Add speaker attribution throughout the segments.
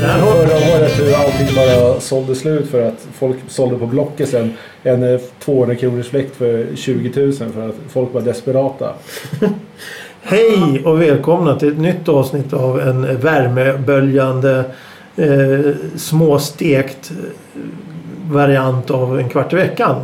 Speaker 1: Men Förra året hur allting bara sålde slut för att folk sålde på Blocket sen en eh, 200 kronors fläkt för 20 000 för att folk var desperata.
Speaker 2: Hej och välkomna till ett nytt avsnitt av en värmeböljande eh, småstekt eh, variant av en kvart i veckan.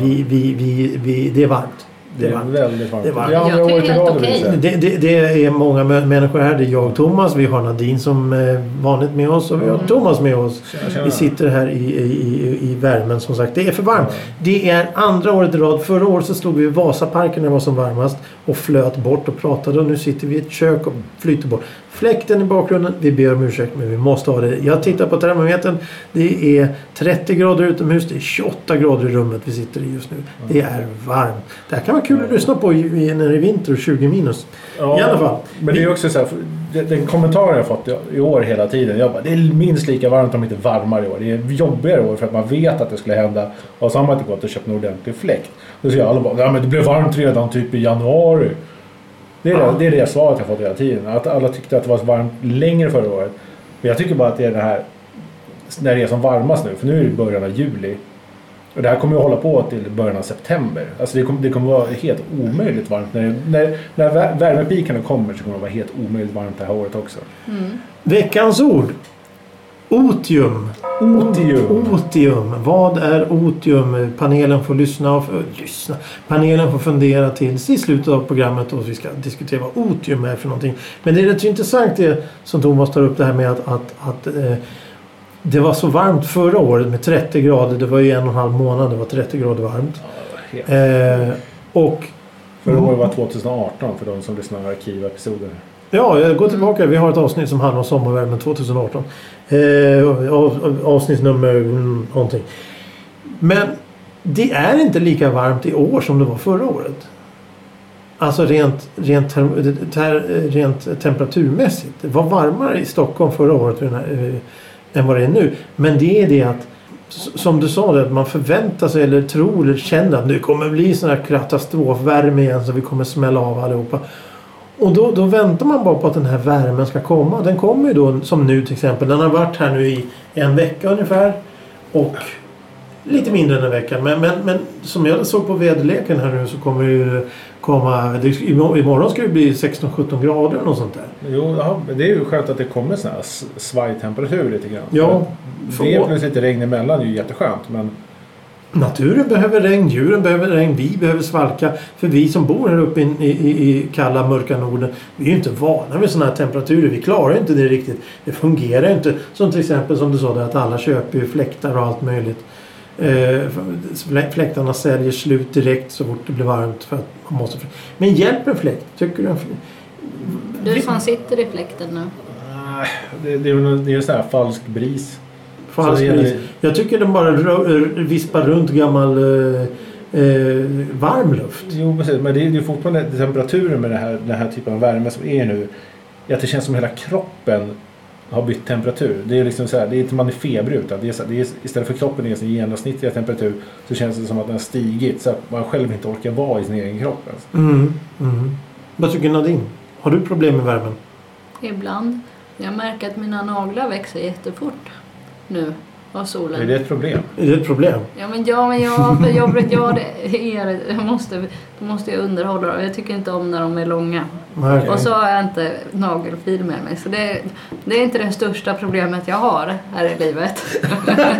Speaker 2: Vi, vi, vi, vi, det är varmt.
Speaker 1: Det är väldigt varmt.
Speaker 2: Det är varmt.
Speaker 1: Det är andra året
Speaker 3: Jag tycker
Speaker 1: i
Speaker 3: helt
Speaker 1: rad vill
Speaker 3: okej.
Speaker 1: säga.
Speaker 2: Det, det, det är många mö- människor här. Det är jag och Thomas. Vi har Nadine som eh, vanligt med oss och vi har Thomas med oss.
Speaker 1: Tjena, tjena.
Speaker 2: Vi sitter här i, i, i, i värmen som sagt. Det är för varmt. Det är andra året i rad. Förra året så stod vi i Vasaparken när det var som varmast och flöt bort och pratade och nu sitter vi i ett kök och flyter bort. Fläkten i bakgrunden. Vi ber om ursäkt men vi måste ha det. Jag tittar på termometern. Det är 30 grader utomhus. Det är 28 grader i rummet vi sitter i just nu. Det är varmt. Det här kan vara kul att lyssna på i, i, när det är vinter och 20 minus.
Speaker 1: Ja,
Speaker 2: I alla fall.
Speaker 1: Men det är också så här, för det- den kommentaren jag fått i- i år hela tiden. Jag bara, det är minst lika varmt om inte varmare i år. Det är jobbigare i år för att man vet att det skulle hända. Och så har man inte gått och köpt en ordentlig fläkt. Då säger alla bara, nej men det blev varmt redan typ i januari. Det är, det, det är det svaret jag fått hela tiden. Att alla tyckte att det var så varmt längre förra året. Men jag tycker bara att det är det här när det är som varmast nu. För nu är det början av juli. Och det här kommer ju hålla på till början av september. Alltså det kommer, det kommer vara helt omöjligt varmt. När, när, när vä- värmepikarna kommer så kommer det vara helt omöjligt varmt det här året också.
Speaker 2: Veckans ord. Otium.
Speaker 1: Otium.
Speaker 2: Otium. Vad är otium? Panelen får lyssna och ö, lyssna. Panelen får fundera tills i slutet av programmet och vi ska diskutera vad otium är för någonting. Men det är rätt så intressant det som Thomas tar upp det här med att, att, att eh, det var så varmt förra året med 30 grader. Det var ju en och en halv månad det var 30 grader varmt. Eh, och
Speaker 1: Förra året var 2018 för de som lyssnar på arkivepisoder.
Speaker 2: Ja, jag går tillbaka. Vi har ett avsnitt som handlar om sommarvärmen 2018. Eh, av- avsnitt nummer mm, någonting. Men det är inte lika varmt i år som det var förra året. Alltså rent, rent, term, ter, rent temperaturmässigt. Det var varmare i Stockholm förra året än den här, eh, än vad det är nu. Men det är det att s- som du sa, det, att man förväntar sig eller tror eller känner att nu kommer det bli sån här katastrofvärme igen så vi kommer smälla av allihopa. Och då, då väntar man bara på att den här värmen ska komma. Den kommer ju då som nu till exempel. Den har varit här nu i en vecka ungefär. Och lite mindre än en vecka. Men, men, men som jag såg på väderleken här nu så kommer det ju komma... Det, imo- imorgon ska det bli 16-17 grader och något sånt där.
Speaker 1: Jo, jaha, men det är ju skönt att det kommer sån här s- svajtemperatur lite grann.
Speaker 2: Ja,
Speaker 1: För att Det
Speaker 2: för-
Speaker 1: plus lite regn emellan är ju jätteskönt. Men
Speaker 2: Naturen behöver regn, djuren behöver regn, vi behöver svalka. För vi som bor här uppe i, i, i kalla, mörka Norden, vi är ju inte vana vid sådana här temperaturer. Vi klarar ju inte det riktigt. Det fungerar ju inte. Som till exempel som du sa, där, att alla köper ju fläktar och allt möjligt. Eh, flä- fläktarna säljer slut direkt så fort det blir varmt. För att man måste... Men hjälp en fläkt, tycker du? En fläkt?
Speaker 3: Du som sitter i fläkten nu.
Speaker 1: äh, det, det är ju en- det är en sån här falsk bris.
Speaker 2: Fan,
Speaker 1: Så det
Speaker 2: Smith.
Speaker 1: gäller-
Speaker 2: Jag tycker den bara rö- vispar runt gammal eh, eh, varm luft.
Speaker 1: Jo, precis. Men det är ju fortfarande temperaturen med den här, den här typen av värme som är nu. Är att det känns som hela kroppen har bytt temperatur. Det är liksom så här, det är inte man är febrig utan det är, så här, det är, istället för kroppen är sin genomsnittliga temperatur så känns det som att den har stigit så att man själv inte orkar vara i sin egen kropp. Alltså.
Speaker 2: Mm, mm. Vad tycker Nadine? Har du problem med värmen?
Speaker 3: Ibland. Jag märker att mina naglar växer jättefort nu av
Speaker 1: Är
Speaker 3: solen.
Speaker 1: det ett problem?
Speaker 2: Är det ett problem?
Speaker 3: Ja men ja, men jag, för jag, brukar- ja, det är det. Jag måste, då måste jag underhålla dem. Jag tycker inte om när de är långa.
Speaker 2: Nej.
Speaker 3: Och så har jag inte nagelfil med mig. Så det, det är inte det största problemet jag har här i livet.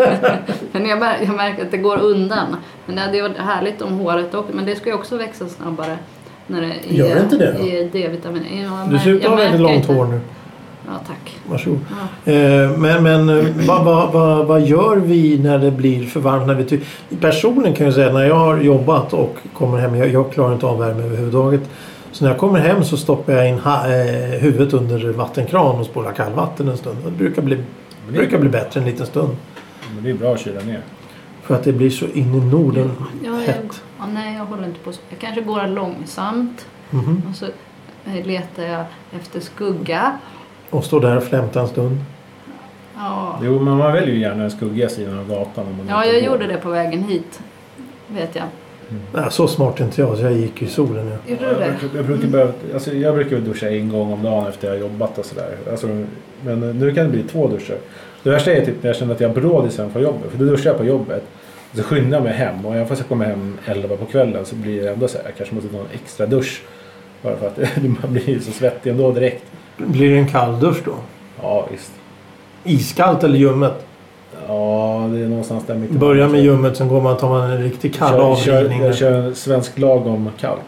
Speaker 3: men jag, mär, jag märker att det går undan. Men det hade ju varit härligt om håret också. Men det ska ju också växa snabbare. När det är,
Speaker 2: Gör det inte det då?
Speaker 3: är D-vitamin. Jag
Speaker 2: Du
Speaker 3: mär-
Speaker 2: ser ut att
Speaker 3: jag
Speaker 2: ha väldigt
Speaker 3: märker
Speaker 2: långt
Speaker 3: inte.
Speaker 2: hår nu.
Speaker 3: Ja, tack.
Speaker 2: Varsågod.
Speaker 3: Ja.
Speaker 2: Eh, Men, men eh, vad, vad, vad, vad gör vi när det blir för varmt? När vi ty- Personligen kan jag säga när jag har jobbat och kommer hem, jag, jag klarar inte av värme överhuvudtaget. Så när jag kommer hem så stoppar jag in ha, eh, huvudet under vattenkran och spolar kallvatten en stund. Det brukar bli,
Speaker 1: Men det,
Speaker 2: brukar bli bättre en liten stund.
Speaker 1: men det är bra att kyla ner.
Speaker 2: För att det blir så in i Norden
Speaker 3: Ja, jag,
Speaker 2: hett.
Speaker 3: ja, nej, jag håller inte på så. Jag kanske går långsamt.
Speaker 2: Mhm.
Speaker 3: Och så eh, letar jag efter skugga.
Speaker 2: Och står där och flämtar en stund.
Speaker 3: Ja,
Speaker 1: Jo, men man väljer ju gärna den skuggiga sidan av gatan. Om man
Speaker 3: ja
Speaker 1: inte
Speaker 3: jag
Speaker 1: går.
Speaker 3: gjorde det på vägen hit. Vet jag.
Speaker 2: Nej, så smart är inte jag så jag gick i solen. Ja.
Speaker 3: Gjorde du
Speaker 1: Jag,
Speaker 3: det?
Speaker 1: brukar- jag, brukar behöva, alltså jag brukar väl duscha en gång om dagen efter jag har jobbat och sådär. Alltså, men eh, nu kan det bli två duscher. Det värsta är typ när jag känner att jag har brådis hem från jobbet. För då duschar jag på jobbet. Och så skyndar jag mig hem. Och även fast jag kommer hem 11 på kvällen så blir det ändå så här. Jag kanske måste ta en extra dusch. Bara för att man blir ju så svettig ändå direkt.
Speaker 2: Blir det en kall dusch då?
Speaker 1: Ja visst.
Speaker 2: Iskallt eller ljummet?
Speaker 1: Ja det är någonstans där mitt emellan.
Speaker 2: Börja med ljummet sen går man tar man en riktig kall
Speaker 1: Kör, kör,
Speaker 2: avrinning.
Speaker 1: jag kör en svensk lagom kallt.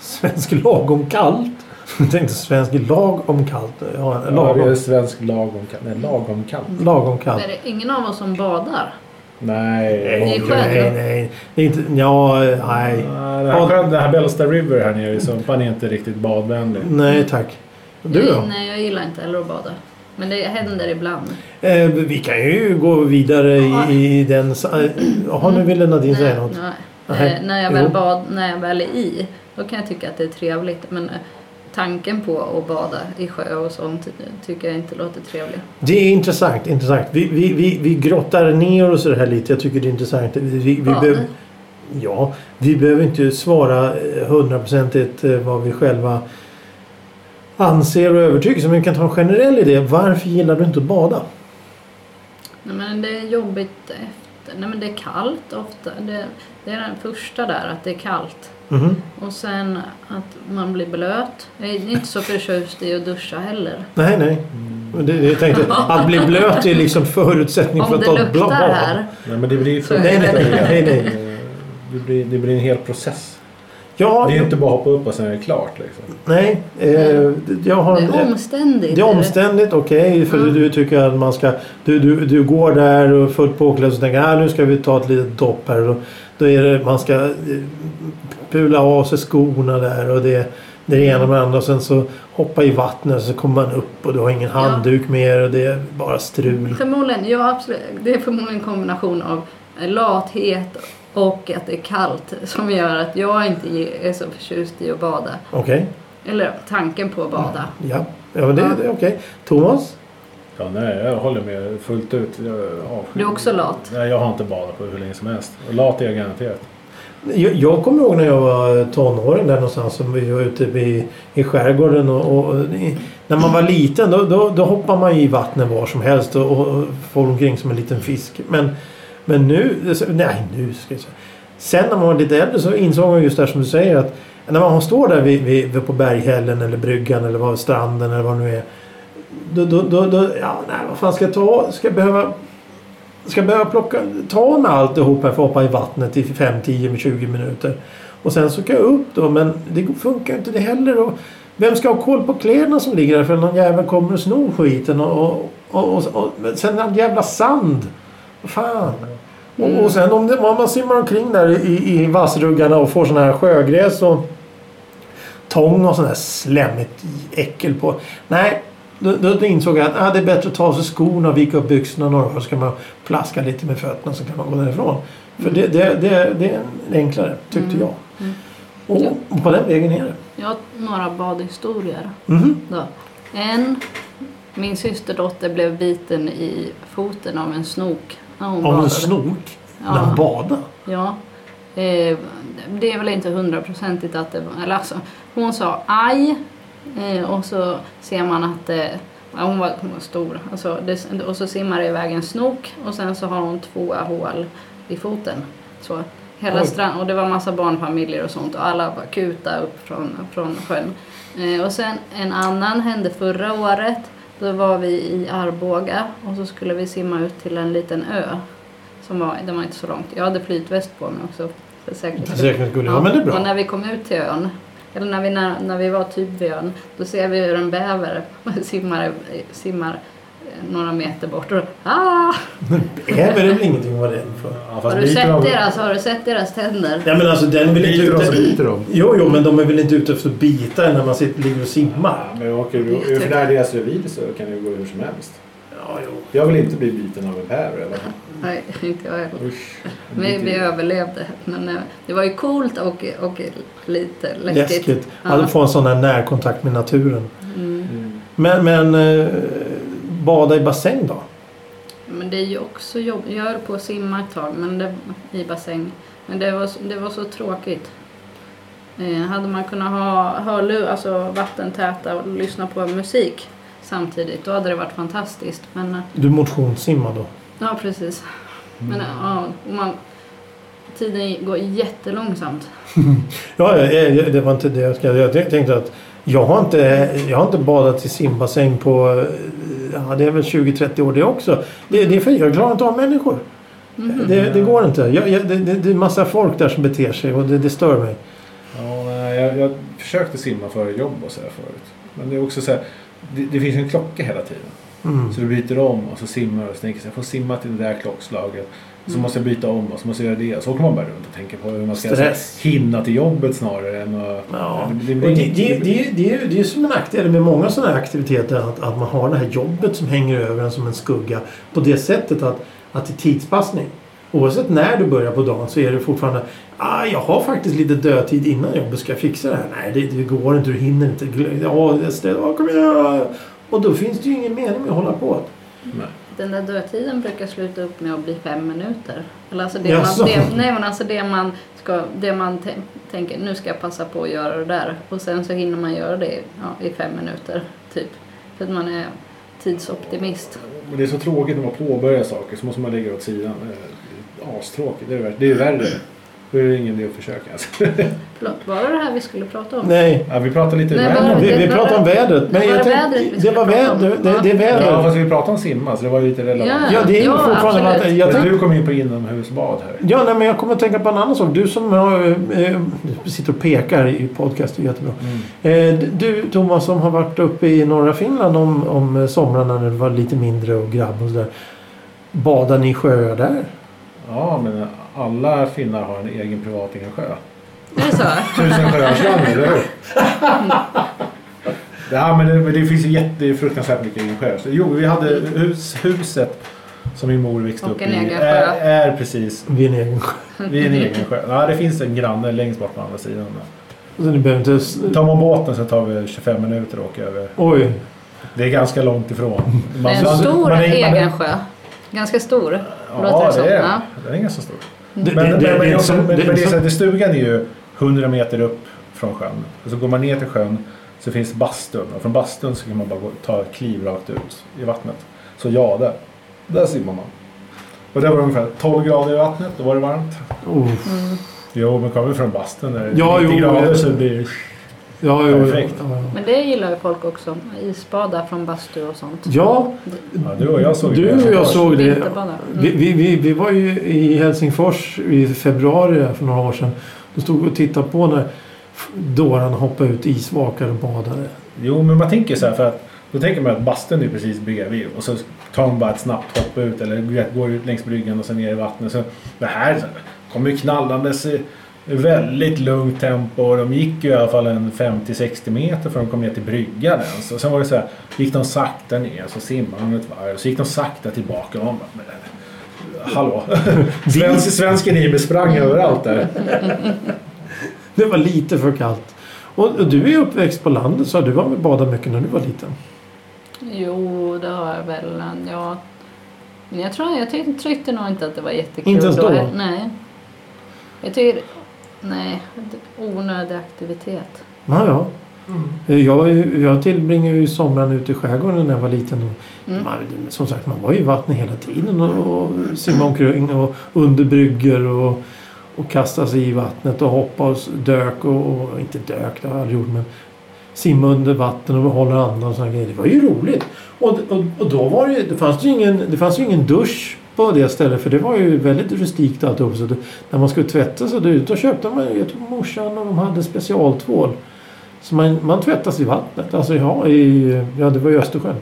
Speaker 2: Svensk lagom kallt? Jag tänkte svensk lagom kallt. Ja,
Speaker 1: Ja, det är
Speaker 2: lagom,
Speaker 1: svensk lagom kallt. Nej, lagom kallt.
Speaker 2: lagom kallt.
Speaker 3: Är det ingen av oss som badar?
Speaker 1: Nej.
Speaker 3: Det är skönt.
Speaker 2: nej, nej. Det är inte, ja, eh, nej.
Speaker 1: Nej, Den här, sjön, den här Bellsta River här nere i Sumpan är inte riktigt badvänlig.
Speaker 2: Nej tack. Du då?
Speaker 3: Nej, nej, jag gillar inte heller att bada. Men det händer ibland.
Speaker 2: Eh, vi kan ju gå vidare i, i den... s- eh, Jaha, nu ville Nadine säga något.
Speaker 3: Mm. nej.
Speaker 2: Nej.
Speaker 3: Eh, när, jag väl
Speaker 2: Jo.
Speaker 3: bad, när jag väl är i, då kan jag tycka att det är trevligt. Men eh, tanken på att bada i sjö och sånt tycker jag inte låter trevligt.
Speaker 2: Det är intressant. intressant. Vi, vi, vi, vi grottar ner oss i det här lite. Jag tycker det är intressant. Vi, vi, vi,
Speaker 3: Vad?
Speaker 2: behöver- ja, vi behöver inte svara eh, hundraprocentigt eh, vad vi själva anser och övertygelser. Men vi kan ta en generell idé. Varför gillar du inte att bada?
Speaker 3: Nej, men det är jobbigt efter. Nej, men det är kallt ofta. Det, det är den första där, att det är kallt.
Speaker 2: Mhm.
Speaker 3: Och sen att man blir blöt. Jag är inte så förtjust i att duscha heller.
Speaker 2: Nej, nej.
Speaker 1: Mm.
Speaker 2: Det, det jag tänkte, att bli blöt är liksom förutsättning för
Speaker 3: Om
Speaker 2: att
Speaker 3: det
Speaker 2: ta ett bla-
Speaker 3: luktar
Speaker 2: bad.
Speaker 3: här.
Speaker 1: Nej, men det blir för...
Speaker 2: Nej, nej, nej, nej.
Speaker 1: Det blir, det blir en hel process.
Speaker 2: Ja,
Speaker 1: Det är inte bara att hoppa upp och sen är det klart. Liksom.
Speaker 2: nej. Eh, jag har
Speaker 3: Det
Speaker 2: en,
Speaker 3: är omständigt.
Speaker 2: Det är omständigt, okej. för
Speaker 3: Mm.
Speaker 2: du tycker att man ska... Du, du, du går där och är fullt påklädd och tänker ah, nu ska vi ta ett litet dopp här. Och då är det, man ska eh, pula av sig skorna där och det, det är det ena med det andra. Och sen så hoppa i vattnet och så kommer man upp och du har ingen
Speaker 3: Ja.
Speaker 2: handduk mer och det är bara strul.
Speaker 3: Förmodligen, ja absolut. Det är förmodligen en kombination av lathet och att det är kallt som gör att jag inte ge- är så förtjust i att bada.
Speaker 2: Okej,
Speaker 3: Eller tanken på att bada.
Speaker 2: ja. Ja, men det,
Speaker 3: Ja.
Speaker 2: det är okej. Thomas?
Speaker 1: Ja, nej, jag håller med fullt ut. Jag avskyr-
Speaker 3: Du är också lat.
Speaker 1: Nej, jag har inte badat på hur länge som helst. Och Lat är jag garanterat.
Speaker 2: Jag, jag kommer ihåg när jag var tonåring där någonstans som vi var ute i, i skärgården. Och, och, i- när man var liten då, då, då hoppade man ju i vattnet var som helst och, och, och for omkring som en liten fisk. Men, men nu, nej nu ska jag säga. Sen när man var lite äldre så insåg man just det här som du säger att när man står där vid, vid, vid på berghällen eller bryggan eller vad, stranden eller vad det nu är. Då, då, då, då ja, nej, vad fan ska jag ta? Ska jag behöva Ska jag behöva plocka, ta med alltihop här för att hoppa i vattnet i 5, 10, 20 minuter. Och sen så kan jag upp då men det funkar ju inte det heller. Och vem ska ha koll på kläderna som ligger där för någon jävel kommer och snor skiten och, och, och, och, och men sen all jävla sand. Fan. Och, och sen om, det, om man simmar omkring där i, i vassruggarna och får sån här sjögräs och tång och sån här slemmigt äckel på. Nej, då, då insåg jag att ah, det är bättre att ta av sig skorna och vika upp byxorna några gånger så kan man plaska lite med fötterna så kan man gå därifrån. För det, det, det, det är enklare, tyckte jag. Och, och på den vägen är det.
Speaker 3: Jag har några badhistorier.
Speaker 2: Mhm.
Speaker 3: Då. En, min systerdotter blev biten i foten av en snok när hon
Speaker 2: Av
Speaker 3: badade.
Speaker 2: en snok när
Speaker 3: Ja.
Speaker 2: han badade.
Speaker 3: Ja. Eh, det är väl inte hundraprocentigt att det var... Eller alltså, hon sa aj. Eh, och så ser man att eh, ja, hon, var, hon var stor. Alltså, det, och så simmar det iväg en snok och sen så har hon två hål i foten. Så, hela
Speaker 2: Oj.
Speaker 3: strand, och det var massa barnfamiljer och sånt och alla bara kuta upp från, från sjön. Eh, och sen en annan hände förra året. Då var vi i Arboga och så skulle vi simma ut till en liten ö. Som var, den var inte så långt. Jag hade flytväst på mig också. För säkerhets
Speaker 2: För
Speaker 3: skull.
Speaker 2: säkerhets skull, ja men det är
Speaker 3: Och
Speaker 2: bra.
Speaker 3: när vi kom ut till ön, eller när vi, när, när vi var typ vid ön, då ser vi hur en bäver simmar, simmar eh, några meter bort och ah!
Speaker 2: Bäver är väl ingenting att vara rädd för.
Speaker 1: Ja, fast
Speaker 3: Har du,
Speaker 1: biter
Speaker 3: sett
Speaker 1: de-
Speaker 3: deras, har du sett deras tänder?
Speaker 2: Ja men alltså den vill inte
Speaker 1: Biter de så
Speaker 2: ut...
Speaker 1: biter de.
Speaker 2: Jo, jo, men de är väl inte ute efter att bita en när man sitter, ligger och simmar.
Speaker 1: Ja, men åker vi
Speaker 3: Jättebra.
Speaker 1: ur där deras revir så kan det ju gå hur som helst.
Speaker 2: Ja, jo.
Speaker 1: Jag vill inte bli biten av en päver. eller?
Speaker 3: Nej, inte jag heller.
Speaker 1: Usch.
Speaker 3: Vi, vi
Speaker 1: Biter-
Speaker 3: överlevde. Men eh, det var ju coolt och, och lite läskigt.
Speaker 2: Läskigt.
Speaker 3: Ja.
Speaker 2: Att få en sån här närkontakt med naturen.
Speaker 3: Mm.
Speaker 1: Mm.
Speaker 2: Men, men eh, bada i bassäng då?
Speaker 3: Men det är ju också jobb. Jag höll på att simma ett tag men det, i bassäng. Men det var, så- det var så tråkigt. Eh, hade man kunnat ha hörlur, alltså vattentäta och lyssna på musik samtidigt då hade det varit fantastiskt. Men eh,
Speaker 2: Du motionssimmar då?
Speaker 3: ja, precis. Men,
Speaker 1: Mm.
Speaker 3: eh, ja, och man, tiden går jättelångsamt.
Speaker 2: Ja, ja, ja, det var inte det jag ska... Jag tänkte att jag har inte, jag har inte badat i simbassäng på... eh, Ja, det är väl 20-30 år det också. Det, det är för, jag klarar inte av människor.
Speaker 3: Mhm.
Speaker 2: Det, det går inte. Jag, jag, det, det det är massa folk där som beter sig och det, det stör mig.
Speaker 1: Ja, nej, jag, jag försökte simma före jobb och sådär förut. Men det är också så här, det, det finns en klocka hela tiden.
Speaker 2: Mm.
Speaker 1: Så du byter om och så simmar och så tänker jag, så här, jag får simma till det där klockslaget. Så
Speaker 3: Mm.
Speaker 1: måste jag byta om och så måste jag göra det. Så åker man bara runt och tänker på hur man ska
Speaker 2: Stress.
Speaker 1: så här, hinna till jobbet snarare än att...
Speaker 2: Ja.
Speaker 1: Det blir-
Speaker 2: Och det, det, det, det, det är ju det är ju som en nackdel med många sådana här aktiviteter att, att man har det här jobbet som hänger över en som en skugga på det sättet att, att det är tidspassning. Oavsett när du börjar på dagen så är det fortfarande ah, jag har faktiskt lite dödtid innan jobbet. Ska jag fixa det här? Nej, det, det går inte. Du hinner inte. Glö- Ja, jag ställer, ja, kom igen. Och då finns det ju ingen mening med att hålla på.
Speaker 1: Nej.
Speaker 3: Den där dödtiden brukar sluta upp med att bli fem minuter. Eller alltså det,
Speaker 2: Jaså?
Speaker 3: man, det, nej, men alltså det man, ska, det man tän- tänker, nu ska jag passa på att göra det där. Och sen så hinner man göra det ja, i fem minuter, typ. För att man är tidsoptimist.
Speaker 1: Men det är så tråkigt när man påbörjar saker så måste man lägga åt sidan. Eh, Astråkigt. Det är värre. Det är värre. Då är det ingen idé att försöka. Alltså.
Speaker 3: Förlåt, var det det här vi skulle prata om?
Speaker 2: Nej.
Speaker 1: Ja, vi pratar lite...
Speaker 3: Nej,
Speaker 1: väder.
Speaker 3: bara-
Speaker 2: Vi, vi
Speaker 3: det-
Speaker 2: pratar om vädret.
Speaker 3: det
Speaker 2: Men
Speaker 3: var
Speaker 2: jag
Speaker 3: vädret
Speaker 2: tänkte-
Speaker 3: vi
Speaker 2: det
Speaker 3: skulle
Speaker 2: var
Speaker 3: prata om.
Speaker 2: vädret. Det, det är
Speaker 3: Ja.
Speaker 1: Ja,
Speaker 2: vädret.
Speaker 1: fast vi pratar om simma så det var ju lite relevant.
Speaker 2: Ja, det är ju
Speaker 3: Ja,
Speaker 2: fortfarande... vad-
Speaker 3: absolut.
Speaker 2: Jag
Speaker 1: Men
Speaker 2: tänkte,
Speaker 1: Du kom in på inomhusbad här.
Speaker 2: Ja, nej, men jag kommer att tänka på en annan sak. Du som har, eh, du sitter och pekar i podcast, det är jättebra. Eh, du Thomas som har varit uppe i norra Finland om, om somrarna när du var lite mindre och grabb och sådär. Badar ni i sjöar där?
Speaker 1: Ja, men alla finnar har en egen privat egen sjö.
Speaker 3: Är det så?
Speaker 1: Tusen sjöarsland, eller hur? Ja, men det, men det finns ju jätte, det är fruktansvärt mycket egen sjö. Så, jo, vi hade hus, huset som min mor växte
Speaker 3: Och
Speaker 1: upp i.
Speaker 3: en egen sjö.
Speaker 1: Är, är precis
Speaker 2: Vid en egen sjö.
Speaker 1: vid en egen sjö. Ja, det finns en granne längst bort på andra sidan.
Speaker 2: Så ni behöver inte... s-
Speaker 1: Tar man båten så tar vi 25 minuter och åker över.
Speaker 2: Oj.
Speaker 1: Det är ganska långt ifrån. Man,
Speaker 3: Det är en stor
Speaker 1: man- man-
Speaker 3: egen sjö. Ganska stor, låter
Speaker 1: Ja,
Speaker 3: det som.
Speaker 1: det är
Speaker 3: Ja.
Speaker 1: Den är ganska stor.
Speaker 2: Det,
Speaker 1: Men, men,
Speaker 2: det, det,
Speaker 1: men,
Speaker 2: det, är
Speaker 1: men,
Speaker 2: som-
Speaker 1: men,
Speaker 2: det,
Speaker 1: det är så
Speaker 2: är
Speaker 1: att stugan är ju 100 meter upp från sjön. Och så går man ner till sjön så finns bastun. Och från bastun så kan man bara gå, ta ett kliv rakt ut i vattnet. Så ja, där, där simmar man. Och där var det ungefär 12 grader i vattnet. Då var det varmt.
Speaker 2: som- oh.
Speaker 3: Mm.
Speaker 1: Jo, men kommer vi från bastun där det är
Speaker 2: Ja,
Speaker 1: 90
Speaker 2: jo,
Speaker 1: grader
Speaker 2: det-
Speaker 1: så blir det...
Speaker 2: Ja, jo, ja,
Speaker 1: Perfekt.
Speaker 2: ja.
Speaker 3: Men det gillar ju folk också. Isbada från bastu och sånt.
Speaker 2: ja,
Speaker 1: Ja, du och jag såg
Speaker 2: du
Speaker 1: det.
Speaker 2: och jag såg det.
Speaker 3: Vinterbada.
Speaker 2: Vi,
Speaker 3: Mm.
Speaker 2: vi, vi, vi var ju i Helsingfors i februari där för några år sedan. Då stod vi och tittade på när f- dårarna hoppade ut isvakar och badade.
Speaker 1: Jo, men man tänker så här för att då tänker man att bastun är precis bredvid och så tar man bara ett snabbt hopp ut eller du vet, går ut längs bryggan och sen ner i vattnet. Så det här så här, kommer ju knallandes i väldigt lugnt tempo och de gick ju i alla fall en 50-60 meter för de kom ner till bryggan ens. Och sen var det så här, gick de sakta ner så simmade de ett varv så gick de sakta tillbaka och man bara, men, Hallå! Svensk, svensken i mig sprang överallt där.
Speaker 2: Det var lite för kallt. Och, och du är uppväxt på landet så du var med bada mycket när du var liten.
Speaker 3: Jo, det har jag väl. Ja. Men jag tror jag tyckte, tyckte nog inte att det var jättekul.
Speaker 2: Inte ens då?
Speaker 3: Nej. Jag tycker... Nej, det- onödig aktivitet.
Speaker 2: Ja, ja. Jag, jag tillbringade ju somrarna ute i skärgården när jag var liten. Och
Speaker 3: Mm.
Speaker 2: man, som sagt, man var ju i vattnet hela tiden och, och simmade omkring och under bryggor och, och kastade sig i vattnet och hoppade och s- dök och, och inte dök, det har jag aldrig gjort, men simma under vatten och hålla andan och såna grejer. Det var ju roligt. Och, och, och då var det, ju- det, fanns det, ju ingen, det fanns ju ingen dusch på det stället för det var ju väldigt rustikt alltihop. Så det, när man skulle tvätta sig då, då köpte man, jag tror morsan och de hade specialtvål. Så man, man tvättas i vattnet, alltså ja, i, ja det var i Östersjön.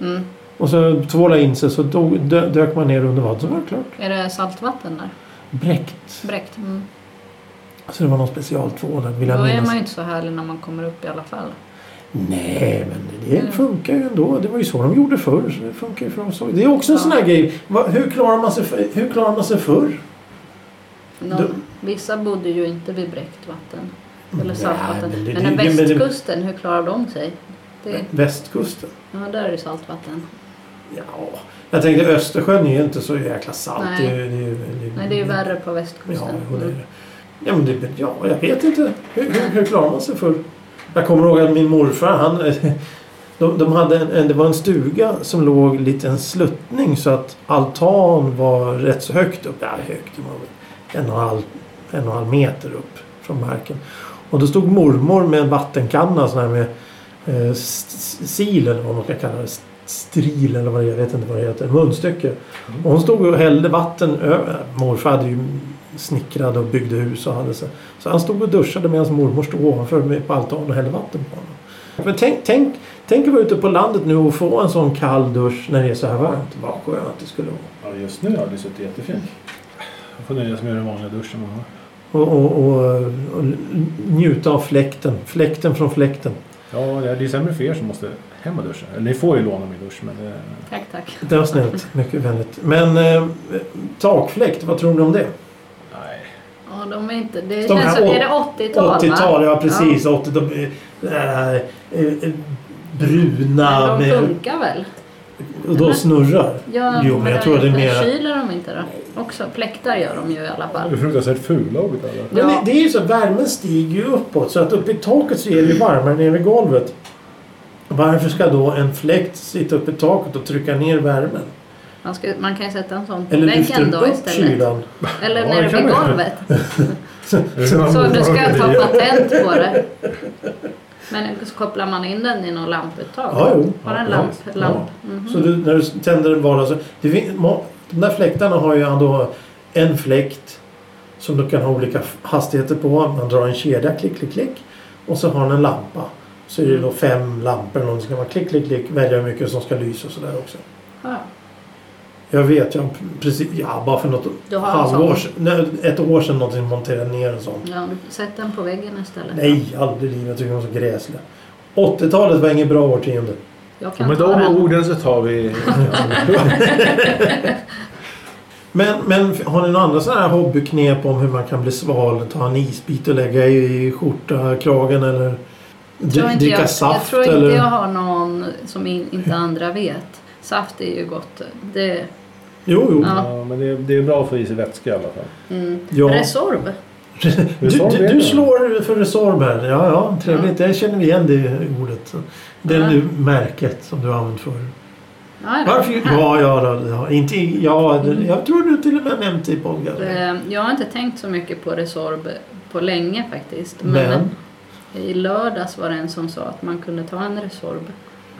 Speaker 3: Mm.
Speaker 2: Och så tvåla in sig så dog, dö, dök man ner under vattnet så var det klart.
Speaker 3: Är det saltvatten där?
Speaker 2: Bräckt.
Speaker 3: Bräckt? Mm.
Speaker 2: Så det var någon specialtvål där, vill
Speaker 3: Då
Speaker 2: jag
Speaker 3: är
Speaker 2: minnas.
Speaker 3: man ju inte så härlig när man kommer upp i alla fall.
Speaker 2: Nej, men det
Speaker 3: Mm.
Speaker 2: funkar ju ändå. Det var ju så de gjorde förr. Så det funkar ju för oss. Det är också en sån här grej. Va- Hur klarar man sig, för, hur klarar man sig förr?
Speaker 3: Någon,
Speaker 2: Då-
Speaker 3: Vissa bodde ju inte vid bräckt vatten. Eller
Speaker 2: Nej, men
Speaker 3: saltvatten.
Speaker 2: det-
Speaker 3: men den
Speaker 2: det- men det-
Speaker 3: västkusten, hur klarar de sig? Det,
Speaker 2: Västkusten.
Speaker 3: ja, där är det saltvatten.
Speaker 2: Ja, jag tänkte Östersjön är ju inte så jäkla salt.
Speaker 3: Nej.
Speaker 2: Det, är- det, är-
Speaker 3: Nej, det är ju
Speaker 2: ja,
Speaker 3: värre på
Speaker 2: Mm. Ja,
Speaker 3: västkusten.
Speaker 2: jo, det är det. Ja, men det, ja, jag vet inte. Hur, hur, hur klarar man sig för... Jag kommer ihåg att min morfar, han... De, de hade en, en, det var en stuga som låg lite en sluttning så att altan var rätt så högt upp. Ja, högt. Det var väl en och en halv, en och en halv meter upp från marken. Och då stod mormor med en vattenkanna sån här med eh, s- s- sil eller vad man ska kalla det. s- Stril eller vad det är. Jag vet inte vad det heter. Munstycke. Och hon stod och hällde vatten över. Morfar hade ju snickrade och byggde hus och hade så. Så han stod och duschade medan mormor stod ovanför mig på altanen och hällde vatten på honom. Men tänk, tänk, tänk att vara ute på landet nu och få en sån kall dusch när det är så här varmt. Vad skönt det skulle vara.
Speaker 1: Ja, just nu har det suttit jättefint. Jag får nöja sig med den vanliga duschen man har.
Speaker 2: Och, och, och, och njuta av fläkten. Fläkten från fläkten.
Speaker 1: Ja, det är ju sämre för er som måste hem och duscha. Eller ni får ju låna min dusch, men eh, det...
Speaker 3: Tack, tack.
Speaker 2: Det var snällt. Mycket vänligt. Men eh, takfläkt, vad tror du om det?
Speaker 1: Nej.
Speaker 3: Ja, de är inte... Det
Speaker 2: De här
Speaker 3: känns som...
Speaker 2: åt-
Speaker 3: Är det 80-tal? va?
Speaker 2: 80-tal, ja precis. 80, de, eh, eh, bruna
Speaker 3: Men de
Speaker 2: med-
Speaker 3: funkar väl?
Speaker 2: Och då snurrar?
Speaker 3: Ja,
Speaker 2: jo, men jag tror det är mer...
Speaker 3: Kyler de inte då? Också fläktar gör de ju i alla
Speaker 1: Det är
Speaker 3: fall.
Speaker 1: fruktansvärt alltså. fula ord alla.
Speaker 2: Men
Speaker 3: Ja.
Speaker 2: det, det är ju så, värmen stiger ju uppåt så att uppe i taket så är det ju varmare än nere vid golvet. Varför ska då en fläkt sitta uppe i taket och trycka ner värmen?
Speaker 3: Man, ska, man kan ju sätta en sån på
Speaker 2: Eller
Speaker 3: väggen
Speaker 2: lyfter
Speaker 3: då
Speaker 2: upp
Speaker 3: istället.
Speaker 2: kylan?
Speaker 3: Eller
Speaker 1: Ja,
Speaker 3: nere
Speaker 1: det kan
Speaker 3: vid
Speaker 1: man ju.
Speaker 3: golvet. Så nu ska jag ta patent på det. Men så kopplar man in den i någon lamputtag.
Speaker 2: Ja, jo.
Speaker 3: Har en
Speaker 1: Ja,
Speaker 3: lamp.
Speaker 1: visst.
Speaker 3: lamp. Mhm.
Speaker 2: Så du, när du tänder en vara så... Det, fin- må- de där fläktarna har ju då en fläkt som du kan ha olika f- hastigheter på. Man drar en kedja, klick, klick, klick. Och så har den en lampa. Så är det då fem lampor. Och så ska man klick, klick, klick välja hur mycket som ska lysa och sådär också.
Speaker 3: Ja.
Speaker 2: Jag vet, jag precis, ja, bara för något
Speaker 3: Du har en
Speaker 2: halvår
Speaker 3: sån.
Speaker 2: sedan, nej, ett år sedan någonting monterade ner en sån.
Speaker 3: Ja, sätt den på väggen istället.
Speaker 2: Nej, aldrig i livet. Jag tycker de är så gräsliga. 80-talet var inget bra årtionde.
Speaker 3: Jag kan
Speaker 1: Men
Speaker 3: ta den.
Speaker 1: de orden så tar vi...
Speaker 2: Men, men har ni några andra sådana här hobbyknep om hur man kan bli sval? Ta en isbit och lägga i skjorta, kragen eller
Speaker 3: Jag tror
Speaker 2: dri-
Speaker 3: inte
Speaker 2: dricka
Speaker 3: jag, jag
Speaker 2: saft?
Speaker 3: tror inte
Speaker 2: eller?
Speaker 3: jag har någon som in, inte andra vet. Saft är ju gott. Det,
Speaker 2: Jo, jo.
Speaker 3: Ja.
Speaker 1: Ja, men det är, det är bra att få i sig vätska i alla fall.
Speaker 3: mm.
Speaker 2: Ja.
Speaker 3: Resorb.
Speaker 2: Du,
Speaker 1: Resorb
Speaker 2: du,
Speaker 1: är
Speaker 2: du
Speaker 1: det.
Speaker 2: slår för Resorb här. Ja, ja, trevligt. Jag känner igen det ordet. Det
Speaker 3: Ja.
Speaker 2: är nu märket som du har använt förr.
Speaker 3: Ja, ja.
Speaker 2: Varför? Ja, ja, ja, ja. Inte, i- ja det- jag tror du till och med nämnt det i podden.
Speaker 3: Mm. Eh, Jag har inte tänkt så mycket på Resorb på länge faktiskt.
Speaker 2: Men?
Speaker 3: Men, i lördags var det en som sa att man kunde ta en Resorb.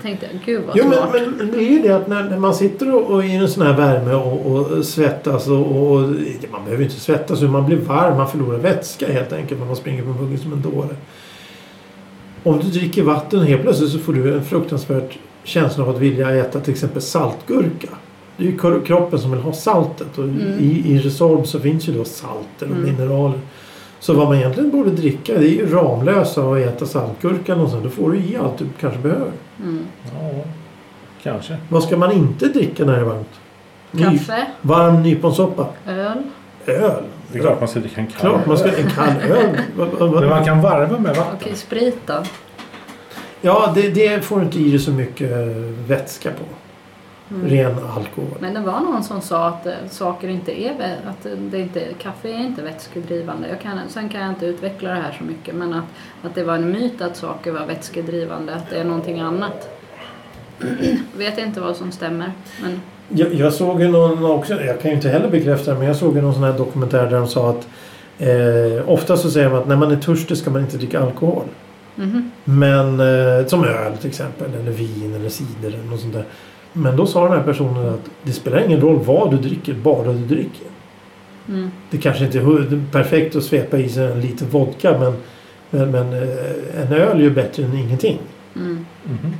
Speaker 3: Tänkte jag, gud vad
Speaker 2: Jo,
Speaker 3: smart.
Speaker 2: men, men men det är ju det att när, när man sitter och, och i en sån här värme och, och svettas och, och och- man behöver ju inte svettas men man blir varm, man förlorar vätska helt enkelt när man springer på muggen som en dåre. Om du dricker vatten helt plötsligt så får du en fruktansvärd känsla av att vilja äta till exempel saltgurka. Det är ju kro- kroppen som vill ha saltet och i, i Resorb så finns ju då salter och
Speaker 3: Mm.
Speaker 2: mineraler. Så vad man egentligen borde dricka det är ju Ramlösa och äta saltgurka och sånt. Då får du i allt du kanske behöver.
Speaker 3: mm.
Speaker 1: Ja, kanske.
Speaker 2: Vad ska man inte dricka när det är varmt? Ny-
Speaker 3: Kaffe,
Speaker 2: Varm nyponsoppa.
Speaker 3: öl.
Speaker 2: Öl.
Speaker 1: Det är klart man ska dricka en kall.
Speaker 2: Klart man ska en kall öl. Va- va- va-
Speaker 1: Men man kan varva med
Speaker 3: Okej,
Speaker 1: vatten.
Speaker 3: sprit då.
Speaker 2: Ja, det, det får du inte i dig så mycket eh, vätska på. Ren alkohol.
Speaker 3: Men det var någon som sa att eh, saker inte är vä- att eh, det inte, kaffe är inte vätskedrivande. Jag kan, sen kan jag inte utveckla det här så mycket men att, att det var en myt att saker var vätskedrivande, att det är någonting annat. Vet inte vad som stämmer. Men
Speaker 2: Jag, jag såg ju någon också, jag kan ju inte heller bekräfta det, men jag såg ju någon sån här dokumentär där de sa att eh, ofta så säger man att när man är törstig ska man inte dricka alkohol.
Speaker 3: mhm.
Speaker 2: Men eh, som öl till exempel, eller vin eller cider eller något sånt där. Men då sa den här personen att det spelar ingen roll vad du dricker, bara du dricker.
Speaker 3: mm.
Speaker 2: Det kanske inte är hu- perfekt att svepa i sig en liten vodka men, men, men eh, en öl är ju bättre än ingenting.
Speaker 3: Mm.
Speaker 1: Mhm.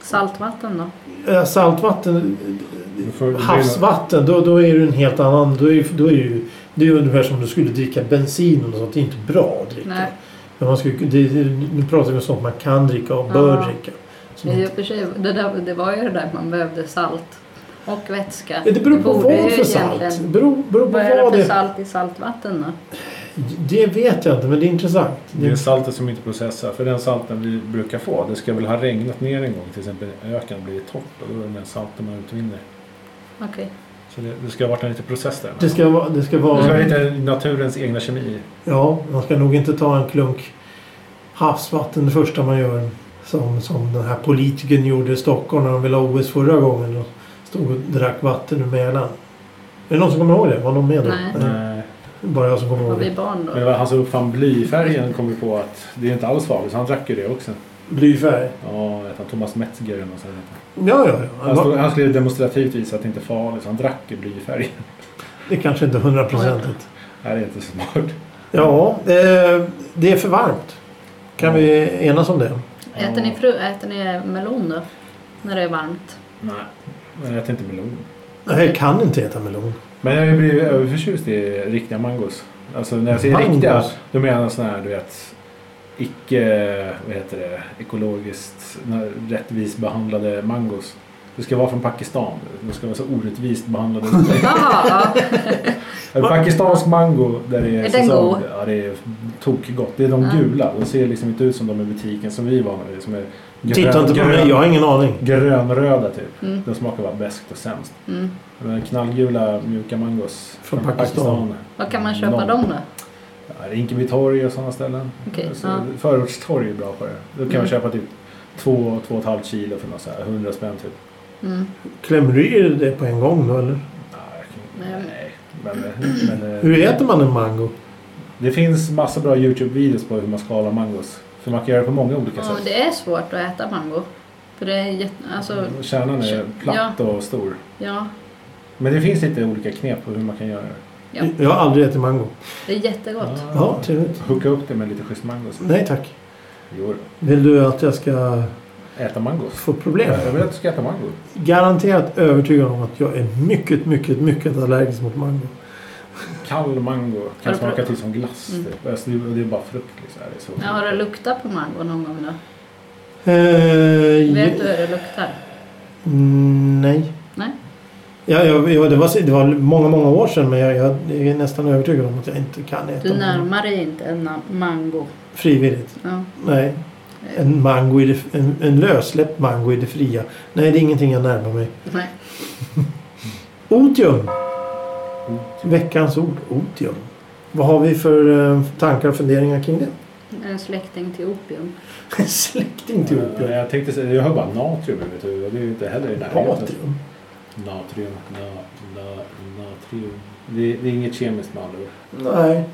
Speaker 3: Saltvatten då?
Speaker 2: Eh, Saltvatten,
Speaker 1: Då får-
Speaker 2: havsvatten, då, då är det en helt annan... Då är, då är ju, det är ju ungefär som om du skulle dricka bensin och sånt. Det är inte bra att dricka.
Speaker 3: Nej,
Speaker 2: Men man skulle, det, nu pratar vi om sånt man kan dricka och bör
Speaker 3: Ja.
Speaker 2: dricka. Så
Speaker 3: i och för sig, det, där, det var ju det där man behövde salt och vätska.
Speaker 2: Ja, Det beror på
Speaker 3: borde
Speaker 2: vad
Speaker 3: ju
Speaker 2: för salt.
Speaker 3: egentligen-
Speaker 2: Beror, beror på
Speaker 3: Vad är det
Speaker 2: vad
Speaker 3: för
Speaker 2: det
Speaker 3: salt i saltvatten då?
Speaker 2: Det vet jag inte, men det är intressant.
Speaker 1: Det är saltet som inte processar. För den salten vi brukar få, det ska väl ha regnat ner en gång. Till exempel öken blir torrt och då är det den salten man utvinner.
Speaker 3: Okej.
Speaker 1: Så det, det ska ha varit en liten process där.
Speaker 2: Det ska vara... Det ska
Speaker 1: Det
Speaker 2: vara
Speaker 3: Mm.
Speaker 1: ska vara lite naturens egna kemi.
Speaker 2: Ja, man ska nog inte ta en klunk havsvatten det första man gör. Som, som den här politikern gjorde i Stockholm när de ville ha OS förra gången. Och stod och drack vatten ur Mälaren. Är det någon som kommer ihåg det? Var någon med då?
Speaker 3: Nej.
Speaker 1: Nej.
Speaker 2: Bara jag som kommer
Speaker 3: Var
Speaker 2: ihåg
Speaker 3: vi
Speaker 2: det.
Speaker 3: barn
Speaker 1: Eh, Men det
Speaker 3: då?
Speaker 1: var han som uppfann blyfärgen kom vi på att det är inte alls farligt. Så han drack ju det också.
Speaker 2: Blyfärg.
Speaker 1: Ja, vet han, Thomas Metzger eller något sånt.
Speaker 2: Ja, ja,
Speaker 1: Han,
Speaker 2: ja.
Speaker 1: stod, han skulle demonstrativt visa att det inte är farligt. Så han drack ju blyfärg.
Speaker 2: Det är kanske inte är hundraprocentigt.
Speaker 1: Nej, det är inte så smart.
Speaker 2: Ja, eh, det är för varmt. Kan vi enas om det?
Speaker 3: Äter ni, fru, äter ni melon då? När det är varmt?
Speaker 1: Nej. Men jag äter inte melon.
Speaker 2: Nej, jag kan inte äta melon.
Speaker 1: Men jag har ju blivit överförtjust i riktiga mangos. Alltså när jag säger
Speaker 2: Mangos?
Speaker 1: riktiga, då menar jag sådana här du vet icke, vad heter det, ekologiskt na- rättvist behandlade mangos. Det ska vara från Pakistan. De ska vara så orättvist behandlade.
Speaker 3: Jaha, ja.
Speaker 1: En pakistansk mango där det är,
Speaker 3: Är den
Speaker 1: säsong.
Speaker 3: god?
Speaker 1: Ja, det är tokgott. Det är de
Speaker 3: Ja.
Speaker 1: gula. De ser liksom inte ut som de i butiken som vi är vana vid. Som är grön-
Speaker 2: Titta inte på
Speaker 1: grön-
Speaker 2: mig, jag har ingen aning.
Speaker 1: Grönröda typ.
Speaker 3: Mm.
Speaker 1: De smakar bara bäst och sämst.
Speaker 3: Mm.
Speaker 1: Men knallgula mjuka mangos
Speaker 2: Från Pakistan.
Speaker 3: Var kan man köpa
Speaker 1: Någon.
Speaker 3: dem då?
Speaker 1: Ja, det är Inkeby torg och sådana ställen.
Speaker 3: Okej,
Speaker 1: Så
Speaker 3: ja.
Speaker 1: Förortstorg är bra på det. Då kan man
Speaker 3: Mm.
Speaker 1: köpa typ 2-2,5 kilo för något så här, 100 spänn typ.
Speaker 3: Mm.
Speaker 2: Klämmer du i det på en gång då eller?
Speaker 1: Nej, jag
Speaker 3: Nej.
Speaker 1: kan- nej. Men, eh, men, eh,
Speaker 2: Hur äter man en mango?
Speaker 1: Det finns massa bra Youtube-videos på hur man skalar mangos. För man kan göra det på många olika
Speaker 3: Ja,
Speaker 1: sätt.
Speaker 3: det är svårt att äta mango. För det är jätte... Alltså,
Speaker 1: Mm. Kärnan är platt och stor.
Speaker 3: ja.
Speaker 1: Men det finns lite olika knep på hur man kan göra det.
Speaker 3: ja.
Speaker 2: Jag har aldrig ätit mango.
Speaker 3: Det är jättegott.
Speaker 2: Ja, typ. trevligt.
Speaker 1: Hooka upp det med lite schysst mangos.
Speaker 2: Nej tack.
Speaker 1: Jo,
Speaker 2: Vill du att jag ska
Speaker 1: äta mangos.
Speaker 2: få problem?
Speaker 1: Jag vill att du ska äta mango.
Speaker 2: Garanterat övertygad om att jag är mycket, mycket, mycket allergisk mot mango.
Speaker 1: Kall mango
Speaker 3: Har
Speaker 1: kan
Speaker 3: du
Speaker 1: smaka
Speaker 3: provat-
Speaker 1: till som glass.
Speaker 3: Mm.
Speaker 1: Typ. Alltså, det är- det är bara frukt liksom. Det är så
Speaker 3: Ja, har du luktat på mango någon gång då?
Speaker 2: Eh,
Speaker 3: Vet du hur det luktar?
Speaker 2: Mm, nej.
Speaker 3: Nej?
Speaker 2: Ja, jag, jag, det, var, det var många, många år sedan men jag, jag är nästan övertygad om att jag inte kan äta
Speaker 3: Du
Speaker 2: mango.
Speaker 3: närmar dig inte en na- mango.
Speaker 2: Frivilligt.
Speaker 3: Ja.
Speaker 2: Nej. En, mango i det, en, en lössläppt mango i det fria. Nej, det är ingenting jag närmar mig.
Speaker 3: Nej.
Speaker 2: Otium. Veckans ord. Otium. Vad har vi för eh, tankar och funderingar kring det?
Speaker 3: En släkting till opium.
Speaker 2: Släkting till
Speaker 1: Ja,
Speaker 2: opium.
Speaker 1: Jag tänkte säga, jag hör bara natrium i mitt huvud och det är ju inte heller i närheten.
Speaker 2: Natrium.
Speaker 1: Natrium, na, na, natrium. Det, det är inget kemiskt med andra ord.
Speaker 2: Nej.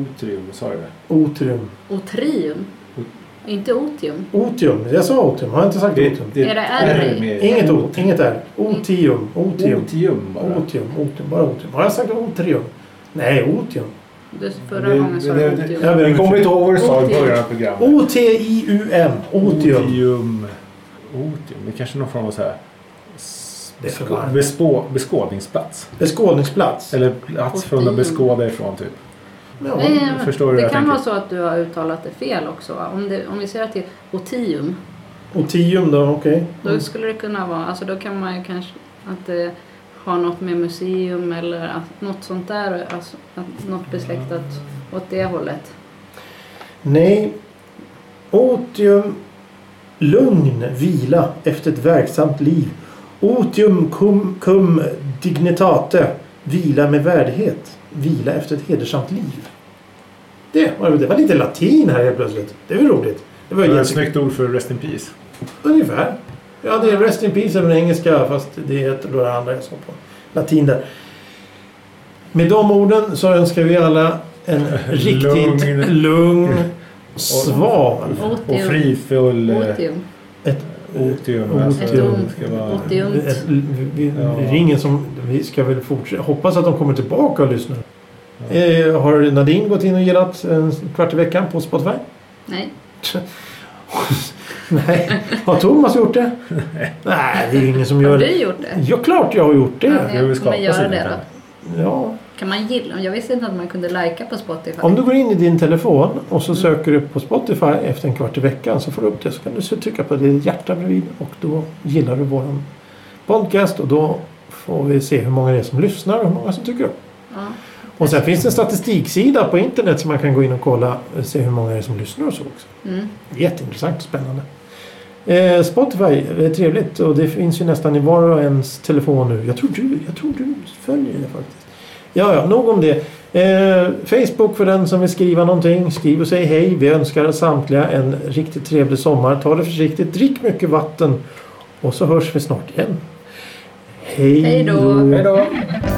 Speaker 1: Otrium, sa jag det?
Speaker 2: Otrium.
Speaker 3: Otrium.
Speaker 1: Mm.
Speaker 3: Inte otium.
Speaker 2: Otium. Jag sa otium. Har jag inte sagt otium?
Speaker 3: Är det R i?
Speaker 1: med-
Speaker 2: Inget O. Inget R. Otium. Otium.
Speaker 1: Otium bara.
Speaker 2: Otium. Otium. Bara otium. Har jag sagt otrium? Nej, otium.
Speaker 3: Du, förra
Speaker 1: Det-
Speaker 3: gången sa
Speaker 1: det-
Speaker 3: du
Speaker 1: det-
Speaker 3: otium.
Speaker 2: Jag ber
Speaker 1: Vi
Speaker 2: om
Speaker 1: kommer
Speaker 2: ursäkt.
Speaker 1: inte ihåg vad du sa i
Speaker 3: Otium.
Speaker 1: början av programmet.
Speaker 2: O-T-I-U-M. Otium.
Speaker 1: Otium. Otium. Det är kanske är någon form av så här... s-
Speaker 2: Det är för
Speaker 1: beskå-
Speaker 2: varmt.
Speaker 1: bespå- Beskådningsplats.
Speaker 2: Beskådningsplats.
Speaker 1: Eller plats från att
Speaker 3: Otium.
Speaker 1: beskåda ifrån typ.
Speaker 2: Ja.
Speaker 3: Nej,
Speaker 1: förstår du
Speaker 3: det
Speaker 1: vad jag
Speaker 3: kan
Speaker 1: tänker?
Speaker 3: vara så att du har uttalat det fel också. Va? Om, det, om vi säger att det är otium,
Speaker 2: Otium då, okej.
Speaker 3: då skulle det kunna vara, alltså då kan man ju kanske att det har något med museum eller att, något sånt där, alltså, att, något besläktat åt det hållet.
Speaker 2: Nej. Otium. Lugn, vila efter ett verksamt liv. Otium cum, cum dignitate. Vila med värdighet. Vila efter ett hedersamt liv. Det var, det var lite latin här helt plötsligt. Det var ju roligt. Det var
Speaker 1: Det
Speaker 2: ju
Speaker 1: var ett
Speaker 2: jätte-
Speaker 1: snyggt ord för Rest in Peace.
Speaker 2: Ungefär. Ja, det är Rest in Peace är den engelska fast det heter då det andra jag sa på latin där. Med de orden så önskar vi alla en riktigt
Speaker 1: Lugn.
Speaker 2: lugn, sval
Speaker 1: Och
Speaker 3: Otium.
Speaker 1: frifull... eh,
Speaker 3: Otium.
Speaker 2: ett
Speaker 1: Otium.
Speaker 3: Otium.
Speaker 1: Alltså, ska vara...
Speaker 3: Otium.
Speaker 2: ett, vi,
Speaker 1: Ja.
Speaker 2: det är ingen som, vi ska väl fortsätta. Hoppas att de kommer tillbaka och lyssnar. Eh, har Nadine gått in och gillat en kvart i veckan på Spotify?
Speaker 3: Nej.
Speaker 2: Nej. Har Thomas gjort det? Nej, det är ingen som
Speaker 3: Har
Speaker 2: gör det.
Speaker 3: du gjort det?
Speaker 2: Ja, klart jag har gjort det.
Speaker 3: Ja,
Speaker 1: Jag vill
Speaker 3: men
Speaker 1: skapa
Speaker 3: göra
Speaker 1: sig
Speaker 3: det
Speaker 1: lite.
Speaker 3: då.
Speaker 2: Ja,
Speaker 3: Kan man gilla? Jag visste inte att man kunde lajka på Spotify.
Speaker 2: om du går in i din telefon och så söker du på Spotify efter en kvart i veckan så får du upp det så kan du så trycka på det lilla hjärta bredvid och då gillar du våran podcast och då får vi se hur många det är som lyssnar och hur många som tycker upp.
Speaker 3: Ja.
Speaker 2: Och sen finns det en statistiksida på internet som man kan gå in och kolla och se hur många det är som lyssnar och så också.
Speaker 3: Mm.
Speaker 2: Jätteintressant och spännande. Eh, Spotify är trevligt och det finns ju nästan i var och ens telefon nu. Jag tror du, jag tror du följer det faktiskt. Ja, ja, nog om det. Eh, Facebook för den som vill skriva någonting. Skriv och säg hej. Vi önskar samtliga en riktigt trevlig sommar. Ta det försiktigt, drick mycket vatten och så hörs vi snart igen. Hej
Speaker 3: Hej då.
Speaker 1: Hej då!